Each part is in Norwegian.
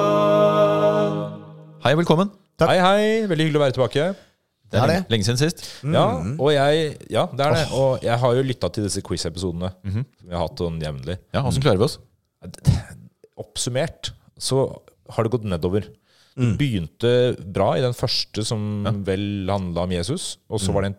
Religionsrådet. Hei, velkommen. Takk. Hei, hei. Veldig hyggelig å være tilbake. Det Det er er lenge, lenge siden sist. Ja, og jeg, ja, det er det. Og jeg har jo lytta til disse quiz-episodene som vi har hatt sånn jevnlig. Mhm. Ja, Åssen klarer vi oss? Oppsummert så har det gått nedover. Det Mm. begynte bra i den første, som vel handla om Jesus. Og så var det en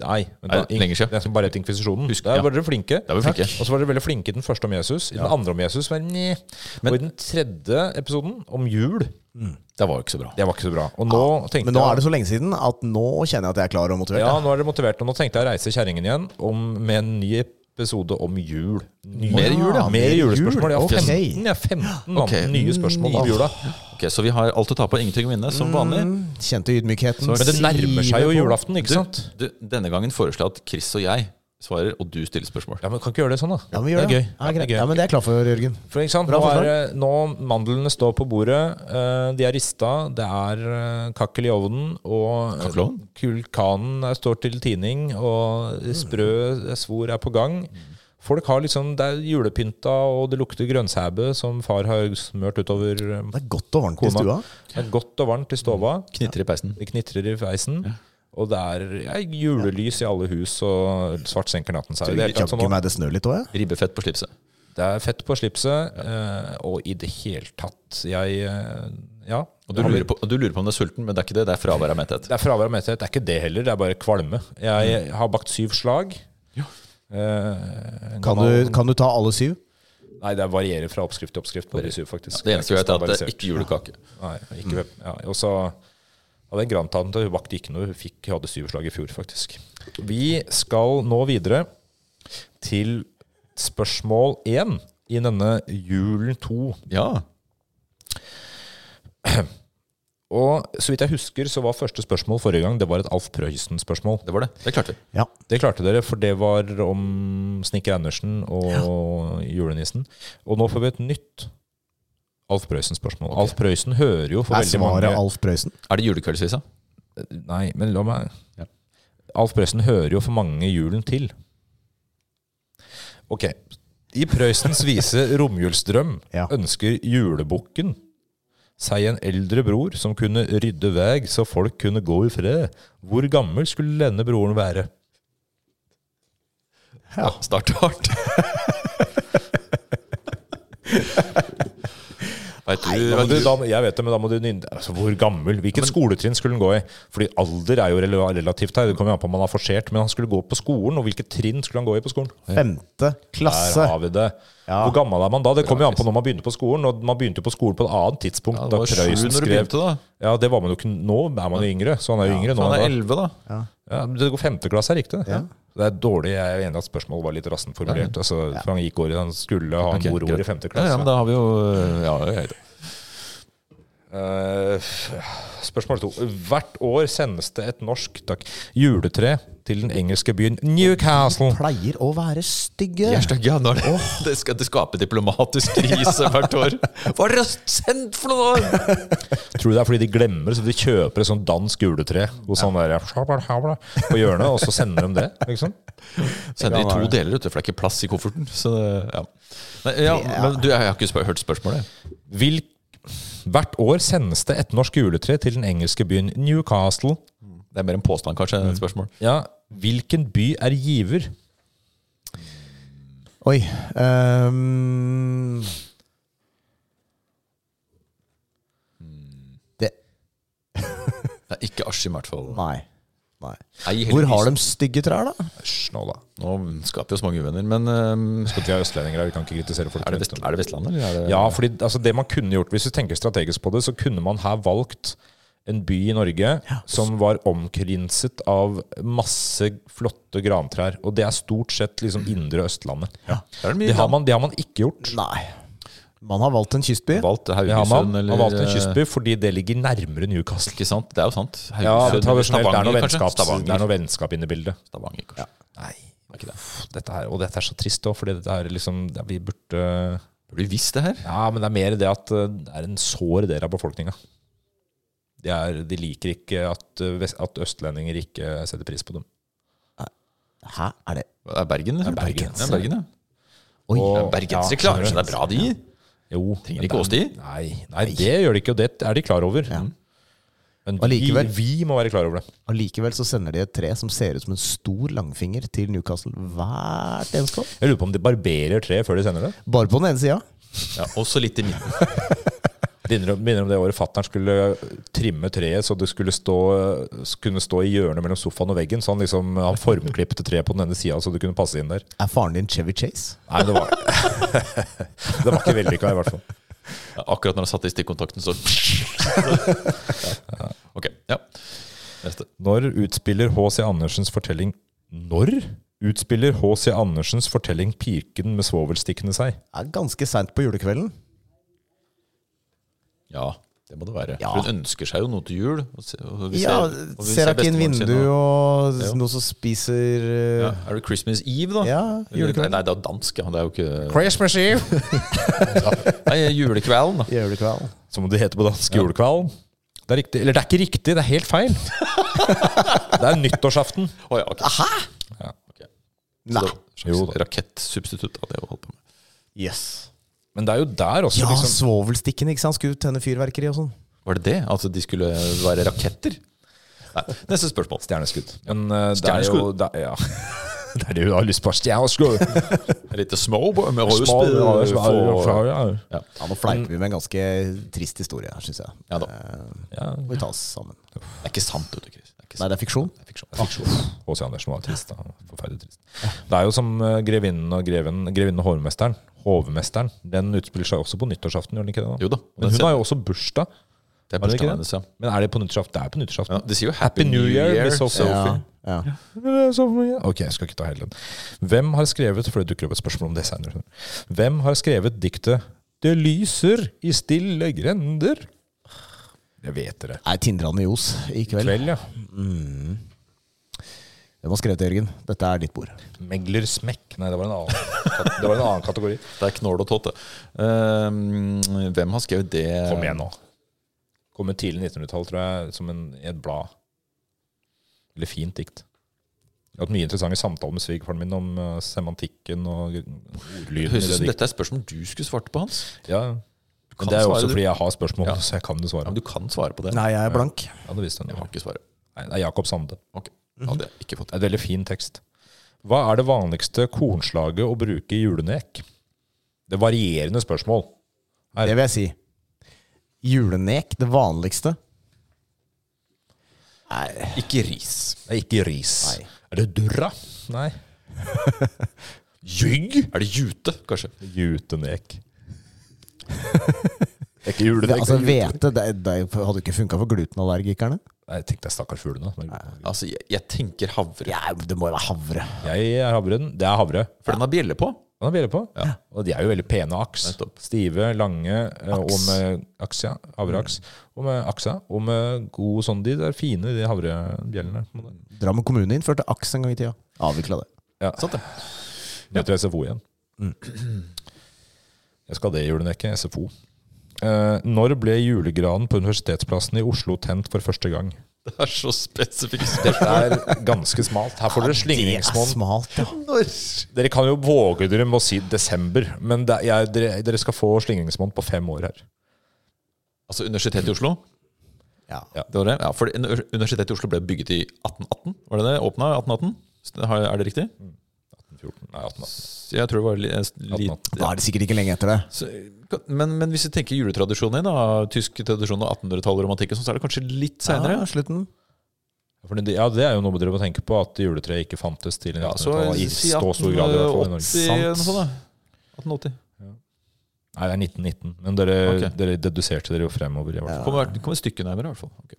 Nei, vent da. Mm. Nei, lenger siden. Den som bare het Inkvisisjonen. Husk- Der ja. var dere flinke. var vi Takk. flinke. Og så var dere veldig flinke i den første om Jesus. I den andre om Jesus var nye. Og i den tredje episoden, om jul, Mm. Det var jo ikke så bra. det var ikke så bra. Og nå tenkte Men nå jeg er det så lenge siden at nå kjenner jeg at jeg er klar og motivert. Ja, Ja. nå er dere motivert. Og nå tenkte jeg å reise kjerringen igjen om, med en ny episode om jul. Ny- Mer jul, ja. Mer julespørsmål. Ja, Ok. 15, ja, 15 Ok. nye spørsmål om jula. Ok, Så vi har alt å tape og ingenting å vinne, som vanlig. Kjente ydmykheten. Men det nærmer seg sive jo på. julaften, Mm, ikke sant? Du, denne gangen foreslår jeg at Chris og jeg svarer, og du stiller spørsmål. Ja, men Kan ikke gjøre det sånn, da. Ja, men vi gjør det er det. gøy. Ja, det er greit. gøy. Ja, men det er jeg klar for, Jørgen. For ikke sant, Bra nå, er, forslag. det- nå Mandlene står på bordet, eh, de er rista, det er eh, kakkel i ovnen, og eh, Kakkel i ovnen? kulkanen er, står til tining, og sprø eh, svor er på gang. Folk har liksom, Det er julepynta, og det lukter grønnsæbe som far har smørt utover eh, Det er godt og varmt i Kona. stua. men godt og varmt i stova. Knitrer i peisen. Det knitrer i feisen. Og det er ja, julelys i alle hus, og svart senker natten seg. Det er helt klart sånn Jaggu nå. meg det snør litt òg, jeg. Ribbefett på slipset. Det er fett på slipset, eh, og i det hele tatt Jeg eh, Ja. Og du, lurer på, og du lurer på om du er sulten, men det er ikke det. Det er fravær av metthet. Det er fravær av metthet. Det er ikke det heller, det er bare kvalme. Jeg Mm. har bakt syv slag. Eh, en Kan, gammel- du- kan du ta alle syv? Nei, det varierer fra oppskrift til oppskrift på de syv, faktisk. Det eneste vi vet, er at det er standardisert. ikke Mm. julekake. Nei, ikke hvem. Ja, og så hadde en grandtante, hun bakte ikke noe, hun fikk, hun hadde syvslag i fjor, faktisk. Vi skal nå videre til spørsmål én i denne julen to. Ja. Og så vidt jeg husker, så var første spørsmål forrige gang det var et Alf Prøysen-spørsmål. Det var det. Det klarte vi. Ja. Det klarte dere, for det var om Snekker Andersen og julenissen. Og nå får vi et nytt Alf Prøysen-spørsmål. Alf Prøysen hører jo for Er veldig mange svaret Alf Prøysen? Er det julekveldsvisa? Nei, men la meg Ja. Alf Prøysen hører jo for mange julen til. Ok. I Prøysens vise 'Romjulsdrøm' Ja. ønsker julebukken seg en eldre bror som kunne rydde vei så folk kunne gå i fred. Hvor gammel skulle denne broren være? Ja. Start hardt. Vet du, Da må vet du, du, da, jeg vet det, men da må du nynne altså, Hvor gammel? Hvilket skoletrinn skulle han gå i? Fordi alder er jo rela- relativt her. Det kommer jo an på om han har forsert. Men han skulle gå på skolen, og hvilket trinn skulle han gå i på skolen? Femte klasse. Der har vi det. Ja. Hvor gammel er man da? Det kommer jo an på når man begynte på skolen. Og man begynte jo på skolen på et annet tidspunkt. Ja, det da var sju Prøysen når du skrev begynte, da. Ja, det var man jo ikke Nå er man jo yngre, så han er jo yngre nå. Han er enn da. elleve, da. Ja, men det går femte klasse, er riktig? det? Det er dårlig. Jeg er enig i at spørsmålet var litt rassen formulert. Altså, for han gikk året han skulle ha Ok, en mor greit. i femte Ja, klasse. ja, men da har vi jo Ja, jeg vet det. Eh, spørsmål to. Hvert år sendes det et norsk takk, juletre til den engelske byen Newcastle. Pleier å være stygge. Jeg er stygg, ja. Når det, det, skal, det skaper diplomatisk krise hvert år. Hva er det sendt for noen år?! Tror du det er fordi de glemmer, så de kjøper et sånt dansk juletre hos han der på hjørnet, og så sender de det? Liksom? Sender i to deler, vet du, for det er ikke plass i kofferten. Så det, ja. Nei, ja, men du, jeg har ikke spør, hørt spørsmålet. Hvil, hvert år sendes det et norsk juletre til den engelske byen Newcastle. Det er mer en påstand, kanskje, enn et spørsmål. Ja, hvilken by er giver? Oi. ehm. det Det er ikke Askim, i hvert fall. Nei. Nei. Nei, Hvor heldigvis. har de stygge trær, da? Hysj nå, da. Nå skaper vi oss mange uvenner, men øhm, Skal til østlendinger her, vi kan ikke kritisere folk. er, det Vest, er det Vestlandet, eller er det Ja, fordi altså, det man kunne gjort Hvis du tenker strategisk på det, så kunne man her valgt en by i Norge som var omkrinset av masse flotte grantrær. Og det er stort sett liksom indre Østlandet. Der er det mye Det, har land. man, det har man ikke gjort. Nei. Man har valgt en kystby. valgt Det har man. Haugesund Man eller eh, har valgt en kystby fordi det ligger nærmere Newcastle. Ikke sant? Det er jo sant. Ja, Haugesund, det, tradisjonelt, det er noe kanskje? vennskap, Stavanger. det er noe vennskap inne i bildet. Stavanger, kanskje. Nei, det er ikke det. Dette her, og dette er så trist òg, fordi dette her liksom det- Vi burde Burde vi visst det her? Ja, men det er mer det at eh, det er en sår del av befolkninga. De, er, de liker ikke at, eh, vest- at østlendinger ikke setter pris på dem. Hæ, er det Det er Bergen, eller? Det er Bergen. Det er Bergen, ja. Oi. Det Og- er Bergens, ja, de klarer seg. skjønner Det er bra, de. Jo, Trenger men ikke det er- åsti. Nei, nei, det gjør de ikke, og det er de klar over. Men Og vi, likevel- vi må være klar over det. Allikevel så sender de et tre som ser ut som en stor langfinger til Newcastle hvert eneste år. Jeg lurer på om de barberer treet før de sender det. Bare på den ene sida. Ja, også litt i midten. Begynner om, begynner om det året fattern skulle eh, trimme treet så det skulle stå, eh, kunne stå i hjørnet mellom sofaen og veggen. Så han liksom han formklippet treet på den ene sida så det kunne passe inn der. Er faren din Chevy Chase? Nei, det var Det var ikke vellykka, i hvert fall. Ja, Akkurat når han satte i stikkontakten, så Ok, ja. Neste. Når utspiller H.C. Andersens fortelling Når utspiller H.C. Andersens fortelling 'Piken med svovelstikkene' seg? Er ganske seint på julekvelden. Ja, det må det være. Ja. For Hun ønsker seg jo noe til jul. Og se, og vi Ja, og vi ser ikke inn bestemoren sin, vindu og- og Ja. noen som spiser ja, eh, Er det Christmas Eve, da? Ja, Eller- julekvelden. Nei, det er jo dansk, ja. Det er jo ikke Christmas Eve! Nei, julekvelden, da. Julekvelden. Som det heter på dansk julekveld. Det er riktig. Eller det er ikke riktig, det er helt feil. det er nyttårsaften. Å ja, ok. Aha! Ja, ok. Så Nei. det var Jo en da. slags Rakettsubstitutt av det å holde på med. Yes. Men det er jo der også, Ja, liksom. svovelstikken, ikke sant. Skulle tenne fyrverkeri og sånn. Var det det? Altså, de skulle være raketter? Nei. Neste spørsmål. Stjerneskudd. Men eh, det er jo Stjerneskudd? det er, Ja. Det er det hun har lyst på. Stjerneskudd! Et lite småbo med Smal, rødspill ja, for- ja, ja. Ja, Nå fleiper vi med en ganske trist historie her, syns jeg. Ja da. Eh, Ja. må vi ta oss sammen. Det er ikke sant, vet du, Chris. Det er ikke Nei, sant. det er fiksjon. Det er fiksjon. Det er fiksjon. H.C. Andersen var trist. Da. Forferdelig trist. Det er jo som eh, grevinnen og greven, grevinnen og hovmesteren. Hovmesteren. Den utspiller seg også på nyttårsaften, gjør den ikke det? da? Jo da. Men hun har jo også bursdag. Det er Har de ikke bursdagen det? hennes, ja. Men er det på nyttårsaften? Det er på ja. nyttårsaften. De sier jo Happy New Year, Miss O. Sophie. Ja, ja. Ok, jeg skal ikke ta hele den. Hvem har skrevet For det dukker opp et spørsmål om det senere. Hvem har skrevet diktet 'Det lyser i stille grender'? Jeg vet dere. Er tindrende ljos i kveld. Kveld, ja. Mm. Hvem har skrevet det, Jørgen? Dette er ditt bord. Megler smekk. Nei, det var en annen, det var en annen kategori. Det er knål og tåte. Ehm, hvem har skrevet det? Kom igjen nå. Kom med tidlig 1900-tall, tror jeg, som en, i et blad. Eller fint dikt. Jeg har hatt mye interessante samtaler med svigerfaren min om eh, semantikken og Det ordlyden i høres ut det som diktet. dette er spørsmål du skulle svart på, Hans. Ja. kan Men det er jo svare, også du. fordi jeg har spørsmål, Ja. så jeg kan det Ja, svare. men du kan svare på det. Nei, jeg er blank. Ja, det visste Jeg jeg. har nå. ikke svaret. Nei, det er Jakob Sande. Ok, Mhm. da hadde jeg ikke fått Det det. er en veldig fin tekst. Hva er det vanligste kornslaget å bruke i julenek? Det er varierende spørsmål. Nei. Det vil jeg si. Julenek, det vanligste. Nei, Ikke ris. Det er ikke ris. Nei. Er det durra? Nei. Jygg? Er det jute, kanskje? Jutenek. Det er ikke julenek. altså det er jute- Hvete det, det hadde ikke funka for glutenallergikerne. Nei, jeg tenkte jeg stakkars fuglene. men- Altså, jeg, jeg tenker havre. Ja, det må jo være havre. Jeg er havren. Det er havre. For den har bjelle på. Den har bjelle på. Og de er jo veldig pene aks. Nettopp. Stive, lange, eh, og med aks, ja. Havreaks. Og med aksa. Og med god sånn De er fine, de havrebjellene. på en måte. Drammen kommune innførte aks en gang i tida. Avvikla det. Ja. Sant det? Nå heter det SFO igjen. Jeg skal det i julenekket. SFO. Eh, når ble julegranen på Universitetsplassen i Oslo tent for første gang? Det er så spesifikt. Dette er ganske smalt. Her får dere Det er slingringsmonn. smalt, ja. Når? Dere kan jo våge dere med å si desember, men det, jeg, dere, dere skal få slingringsmonn på fem år her. Altså Universitetet i Oslo? ja. Det var det? Ja, for Uni- Universitetet i Oslo ble bygget i 1818, var det det? Åpna i 1818? Så det har- Er det riktig? 14, nei, 18, Så Jeg tror det var li- en s- litt 18. Da er det sikkert ikke lenge etter det. så, men, men hvis vi tenker juletradisjonen din, da, tysk tradisjon og 1800-tallet romantikk, og sånn, så er det kanskje litt seinere? Ah, Ja, slutten. For det, ja, det er jo noe dere må tenke på, at juletreet ikke fantes til Ja, så 1900-tallet. I si så stor grad, i hvert fall i Norge. 1880 eller noe Sant. sånt. da. 1880. Nei, det er 1919. Men dere, Ok. dere deduserte dere jo fremover. i hvert fall. Kom, hvert- kom et stykke nærmere, i hvert fall. Ok.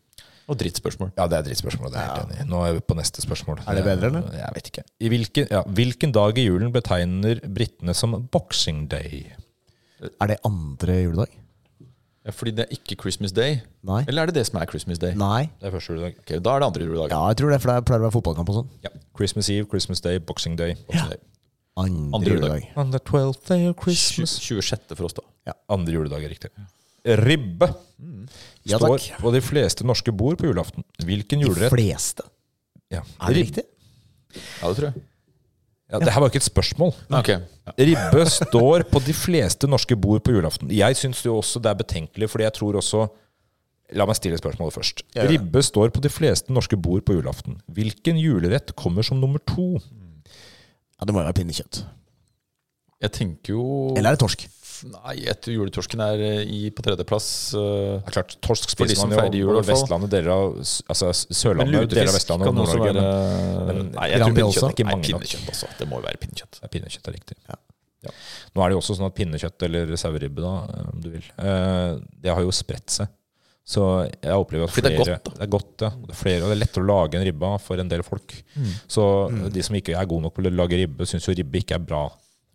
Og drittspørsmål. Ja, det er drittspørsmål. Det er jeg helt enig i. Nå er vi på neste spørsmål. Er det bedre, eller? Jeg vet ikke. I hvilken, ja, hvilken dag i julen betegner britene som boxing day? Er det andre juledag? Ja, fordi det er ikke Christmas Day. Nei. Eller er det det som er Christmas Day? Nei. Det er første juledag. Ok, da er det andre juledag. Ja, jeg tror det, for det pleier å være fotballkamp og sånn. Christmas Eve, Christmas Day, Boxing Day. Boxing Day. Andre, Andre juledag. juledag. On the 12th day of Tju- 26. for oss, da. Andre juledag er riktig. Ribbe Ja, står takk. på de fleste norske bord på julaften. Hvilken De julerett fleste. ja. Er det Ribbe. riktig? Ja, det tror jeg. Ja, det her var jo ikke et spørsmål. Ok. Ribbe står på de fleste norske bord på julaften. Jeg syns jo også det er betenkelig, fordi jeg tror også La meg stille spørsmålet først. Ja, ja. Ribbe står på de fleste norske bord på julaften. Hvilken julerett kommer som nummer to? Ja, Det må jo være pinnekjøtt. Jeg tenker jo Eller er det torsk? Nei, jeg tror juletorsken er eh, i, på tredjeplass. eh, Det er klart, Torsk For de spiser som man feirer jo jul, i på hvert fall. Vestlandet, deler av s- altså, s- Men Sørlandet, deler av lutefisk Vestlandet og kan også Nord-Norge. være Men men, Nei, jeg tror Grandi pinnekjøtt. også? er Ikke Nei, mange nok. pinnekjøtt også. Det må jo være pinnekjøtt. det er pinnekjøtt er riktig. Ja. Ja. Nå er det jo også sånn at pinnekjøtt eller saueribbe, da, om du vil, eh, det har jo spredt seg. Så jeg opplever at Fordi flere, det er godt, det er godt, ja. Det er flere, og det er lettere å lage en ribba for en del folk. Mm. Så eh, de som ikke er gode nok på å lage ribbe, syns jo ribbe ikke er bra.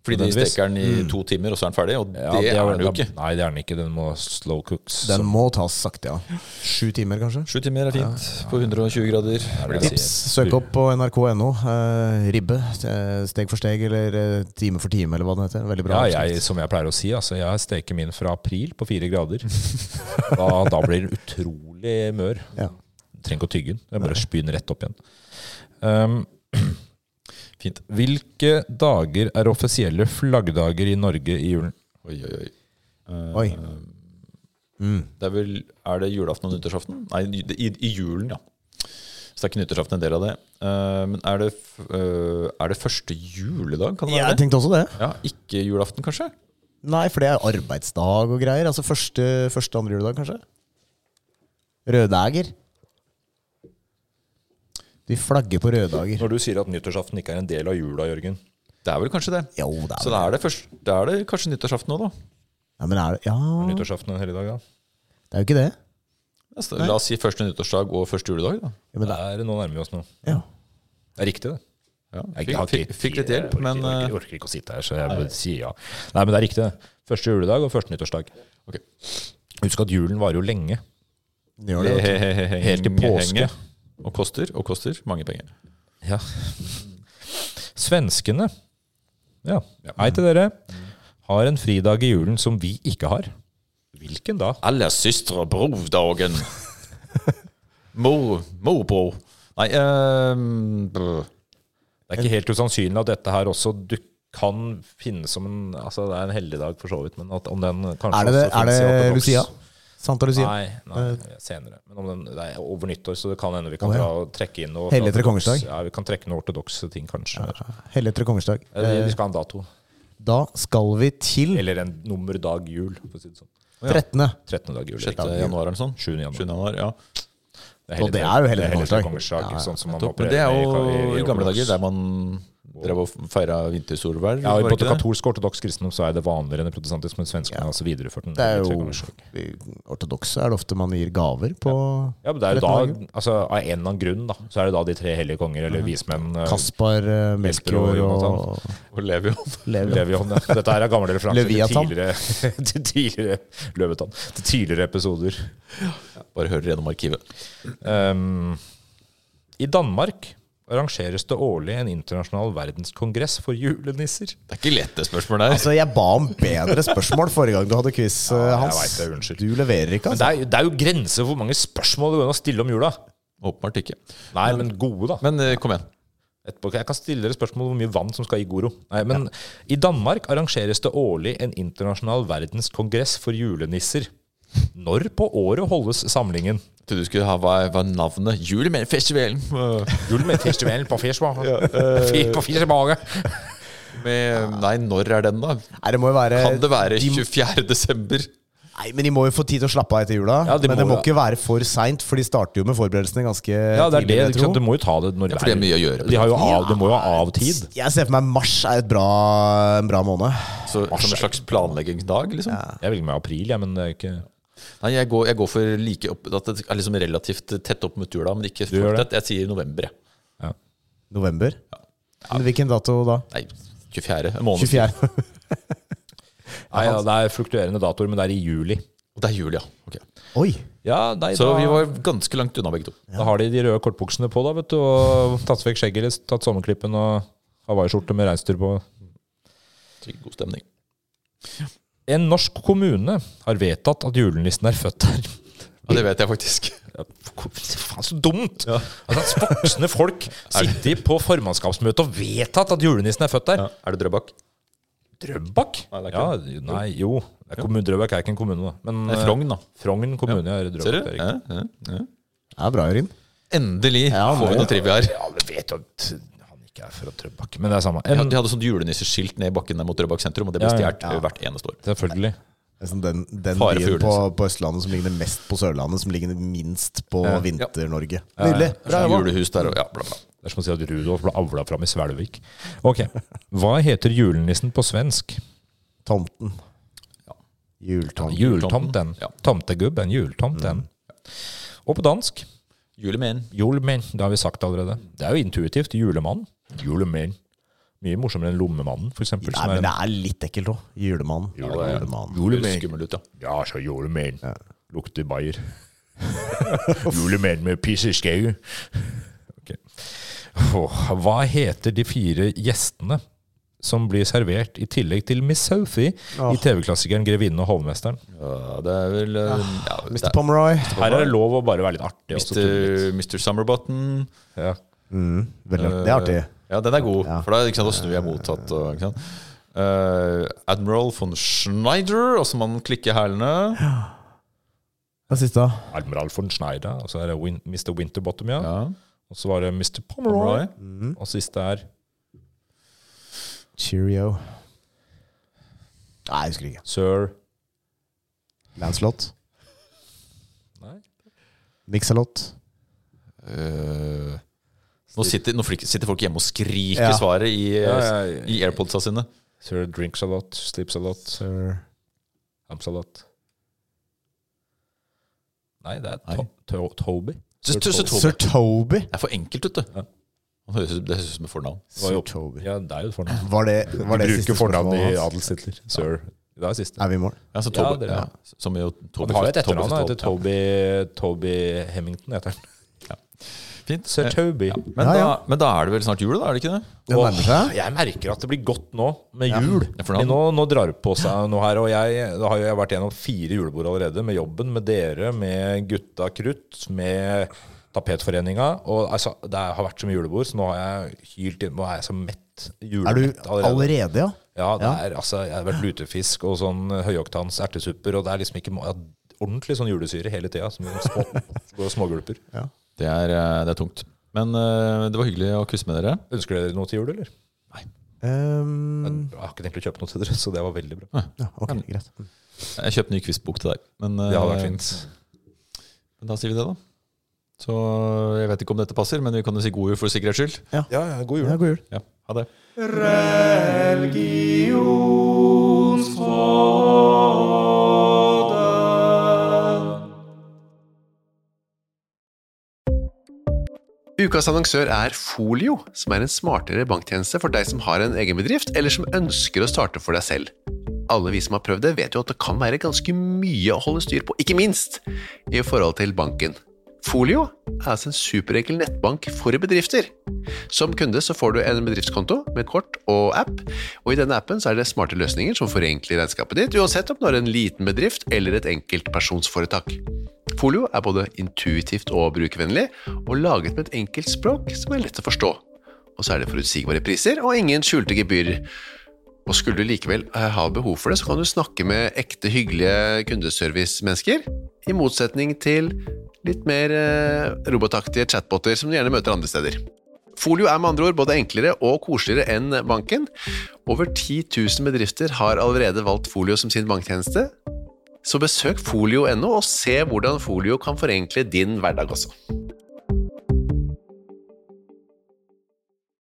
Fordi de Nødvendigvis. steker den i to timer, og så er den ferdig. Og Mm. det, Ja, er den jo da- ikke. Nei, det er den ikke. Den må slow cooks. Den må tas sakte, ja. Sju timer, kanskje? Sju timer er fint på 120 grader. det jeg Tips, søk opp på nrk.no. eh, ribbe, eh, steg for steg, eller eh, time for time, eller hva det heter. Veldig bra. Ja, jeg, som jeg pleier å si, altså, jeg steker min fra april på fire grader. Da, da blir den utrolig mør. Ja. Trenger ikke å tygge den. Jeg bare spyr den rett opp igjen. Um, Fint. hvilke dager er offisielle flaggdager i Norge i julen? Oi, oi, oi. Eh, Oi. Mm. Det er vel Er det julaften og nyttårsaften? Nei, det- i, i julen, ja. Så det er ikke nyttårsaften en del av det. Eh, men er det, f- eh, er det første juledag? Kan det Jeg være det? tenkte også det. Ja, ikke julaften, kanskje? Nei, for det er arbeidsdag og greier. Altså første, første andre juledag, kanskje. Røddager. De flagger på røddager. Når du sier at nyttårsaften ikke er en del av jula, Jørgen Det er vel kanskje det. Jo, det Så er det. da er det, først, da er det kanskje nyttårsaften òg, da. Ja, men er det Ja, Nyttårsaften en helligdag, da? det er jo ikke det. Ja, så La oss si første nyttårsdag og første juledag, da. Ja, men det, Der, nå nærmer vi oss nå. ja. Det er riktig, det. Ja, Jeg har fikk, fikk, ikke- fikk litt hjelp, jeg orker- men jeg orker, eh, jeg orker ikke å sitte her, så jeg bare sier ja. Nei, men det er riktig, det. Første juledag og første nyttårsdag. Ok. Husk at julen varer jo lenge. Gjør det, vet du. Helt til påske. henge. Og koster og koster mange penger. Ja. Svenskene ja. Hei til dere. Har en fridag i julen som vi ikke har. Hvilken da? Alle søstre brovdagen. Mor, morbror. Nei ehm, brr. Det er ikke helt usannsynlig at dette her også du kan finnes som en Altså Det er en helligdag, for så vidt, men at om den kanskje Er det, det, også er finnes i det ortodoks- Lucia? Santa Lucia? Nei, nei, senere. Men om den, det er over nyttår, så det kan hende vi Eh, kan Å, ja. dra og trekke inn noe. Helligtre ortodoks- kongersdag? Ja, vi kan trekke noen ortodokse ting, kanskje. Hellig etter kongersdag. Eh, Eller vi skal ha en dato. Da skal vi til Eller en nummerdag jul, for å si det sånn. 13. 13. dag jul. 6. riktig. januar eller noe sånt. 7. januar. 7. januar, ja. Det Og det er jo hele det kongersdag. kongersdag. Ja, ja. Sånn som man Men opererer det er med jo i gamle ortodoks. dager der man drev og feira vintersolverv. Ja, var Både ikke det? katolsk og ortodoks kristendom så er det vanligere enn i protestantisk, men svenskene har altså videreført den. Det er tre jo kongersdag. ortodokse. Er det ofte man gir gaver på ja, men det er jo da, 13 altså, Av en eller annen grunn da, så er det da de tre hellige konger, Mm. eller vismenn, eh, Kaspar, eh, Melchior og Jonathan. Og Levion. Levi. Levion. ja. Dette her er gamle referanser til Leviathan. tidligere, til, tidligere, Løvetann. til tidligere episoder. Bare hører gjennom arkivet. Ehm, I Danmark arrangeres det årlig en internasjonal verdenskongress for julenisser. Det er ikke lett, det spørsmålet der. Altså, jeg ba om bedre spørsmål forrige gang du hadde quiz, eh, jeg Hans. vet det, unnskyld. Du leverer ikke, Men det altså. er, jo- det er jo grenser for hvor mange spørsmål det går an å stille om jula. Åpenbart ikke. Nei, men gode, da. Men eh, kom igjen. Etterpå, jeg kan stille dere spørsmål om hvor mye vann som skal i Goro. Nei, men I Danmark arrangeres det årlig en internasjonal verdenskongress for julenisser. Når på året holdes samlingen? Jeg trodde du skulle ha hva, hva er navnet Julemennfestivalen. eh, Julemennfestivalen på Fischmager. På Fischmager. Med, nei, når er den, da? Nei, det må jo være Kan det Eh, være de, 24. desember? Nei, men de må jo få tid til å slappe av etter jula. Ja, de men må det må jo. ikke være for seint, for de starter jo med forberedelsene ganske Ja, det tidlig. er det. vil jeg ikke sant? tro. Du må jo ta det når for det er mye å gjøre. liksom. De, har jo av, de må jo ha av tid. Jeg ser for meg mars er et bra, en bra måned. Så, som en slags planleggingsdag, liksom? Jeg velger meg april, jeg, men det er ikke Nei, jeg går, jeg går for like opp, at det er liksom relativt tett opp mot jula, men ikke Du gjør for tett. Jeg sier november, jeg. ja. November. Men Hvilken dato da? Nei, 24. En måned. 24. Nei, ja, Det er fluktuerende datoer, men det er i juli. Og det er jul, ja. Ok. Oi! Ja, nei, Så da, vi var ganske langt unna begge to. da har de de røde kortbuksene på, da, vet du, og tatt vekk skjegget litt, tatt sommerklippen og hawaiiskjorte med reinsdyr på. Så God stemning. En norsk kommune har vedtatt at julenissen er født her. Ja, det vet jeg faktisk. Ja, faen, så dumt! Altså, at voksne folk sitter på formannskapsmøtet og vedtatt at julenissen er født der. Er det Drøbak? Drøbak? Nei, det er ja, ikke nei, jo. Det er kommun- Drøbak er ikke en kommune, da. Men Det er Frogn, da. eh, Frogn kommune er Drøbak. Ser du? det er riktig. Ja, ja, ja. Det er bra, Jørin. Endelig Ja, får nå, vi ja. noe trivia her. Ja, vi vet jo at han ikke er fra Drøbak, men det er samme. De En, hadde- de hadde sånn julenisseskilt ned i bakken der mot Drøbak sentrum, og det ble Ja, ja. stjålet eh, hvert eneste år. Selvfølgelig. Det er sånn Den, den Fare for byen på, julenissen. på Østlandet som ligner mest på Sørlandet, som ligger vinst på Vinter-Norge. Nydelig. Det er sånn julehus der og ja, bla, bla. Det er som å si at Rudolf ble avla fram i Svelvik. Ok, Hva heter julenissen på svensk? Tomten. Ja. Jultomten. Jultomten. Ja. Tomtegubben. Jultomten. Og på dansk Julemen. Julemann, det har vi sagt allerede. Det er jo intuitivt. Julemann. Julemann. Mye morsommere enn Lommemannen, for eksempel. Nei, som er men en- det er litt ekkelt òg. Julemannen. Julemann. Julemannen. Høres Julemann. skummel ut, ja. Ja, så julemann. Lukter bayer. julemann med piss i skjegget. Ok. Åh, hva heter de fire gjestene som blir servert i tillegg til Miss Sophie i TV-klassikeren 'Grevinnen og hovmesteren'? Ja, Det er vel eh, ja, det Mr. er Pomeroy. Her er det lov å bare være litt artig. og så tulle litt. Mr. Mr. Summerbutton. Ja. Mm, veldig, det er artig. Ja, den er god, Ja. for da, ikke sant, da snur jeg mottatt. Og, ikke sant? Eh, Admiral von Schneider, og så må man klikke hælene. Hva er siste? Admiral von Schneider, og så er det Win Mr. Winterbottom, ja. Ja. Og så var det Mr. Pomeroy. Pomeroy. Mm. Og siste er Cheerio. Nei, jeg husker ikke. Sir Lancelot. Nei. Mixalot. Eh, nå sitter, nå flik- sitter folk hjemme og skriker Ja. svaret i, Ja, ja, ja. i airpodsa sine. Sir drinks a lot, sleeps a lot, Sir amps a lot. Nei, det er Nei. to to Toby. Sir Sir Toby. Sir Toby. Det er for enkelt, vet du. Ja. Han høres ut- Det høres ut som et fornavn. var jo- Sir Toby. Ja, det er jo et fornavn. Var det, var det Du siste bruker fornavn i spørsmålet hans? adelstitler. Sir. Det er siste. Er vi i mål? Ja, så Ja, Toby, det er ja, det. Som jo Toby Han har jo et Fest- etternavn, han Festival. heter Toby, Toby Hemmington. heter han. Ja, fint. Sir Eh, Toby. Men, Ja, Da, men da er det vel snart jul, da? er det ikke det? Det Åh, nærmer seg. Jeg merker at det blir godt nå, med jul. Ja, for nå- Men nå, nå drar det på seg noe her. Og jeg, da har jo jeg vært gjennom fire julebord allerede, med jobben, med dere, med Gutta Krutt, med Tapetforeninga. Og altså, det har vært så mye julebord, så nå har jeg hylt inn. Nå er jeg så mett. Er du Julemett allerede. allerede, ja? Ja, det Ja. er, altså, jeg har vært lutefisk og sånn høyoktans ertesupper, og det er liksom ikke må- ja, ordentlig sånn julesyre hele tida. Som små, smågulper. Det er, eh, det er tungt. Men eh, det var hyggelig å kysse med dere. Ønsker dere noe til jul, eller? Ehm, Jeg har ikke tenkt å kjøpe noe til dere, så det var veldig bra. ja ok, greit. Jeg kjøpte ny quizbok til deg. Men, eh, Det hadde vært fint. men da sier vi det, da. Så eh, jeg vet ikke om dette passer, men vi kan jo si god jul for sikkerhets skyld. Ja, ja, god jul. Ja, god jul. Ja, ha det. Ukas annonsør er Folio, som er en smartere banktjeneste for deg som har en egen bedrift, eller som ønsker å starte for deg selv. Alle vi som har prøvd det, vet jo at det kan være ganske mye å holde styr på, ikke minst i forhold til banken. Folio er altså en superenkel nettbank for bedrifter. Som kunde så får du en bedriftskonto med kort og app, og i denne appen så er det smarte løsninger som forenkler regnskapet ditt, uansett om du har en liten bedrift eller et enkeltpersonsforetak. Folio er både intuitivt og brukervennlig, og laget med et enkelt språk som er lett å forstå. Og så er det forutsigbare priser og ingen skjulte gebyrer. Og skulle du likevel eh, ha behov for det, så kan du snakke med ekte hyggelige kundeservice-mennesker, i motsetning til litt mer eh, robotaktige chatboter som du gjerne møter andre steder. Folio er med andre ord både enklere og koseligere enn banken. Over 10 000 bedrifter har allerede valgt Folio som sin banktjeneste, så besøk folio.no og se hvordan folio kan forenkle din hverdag også.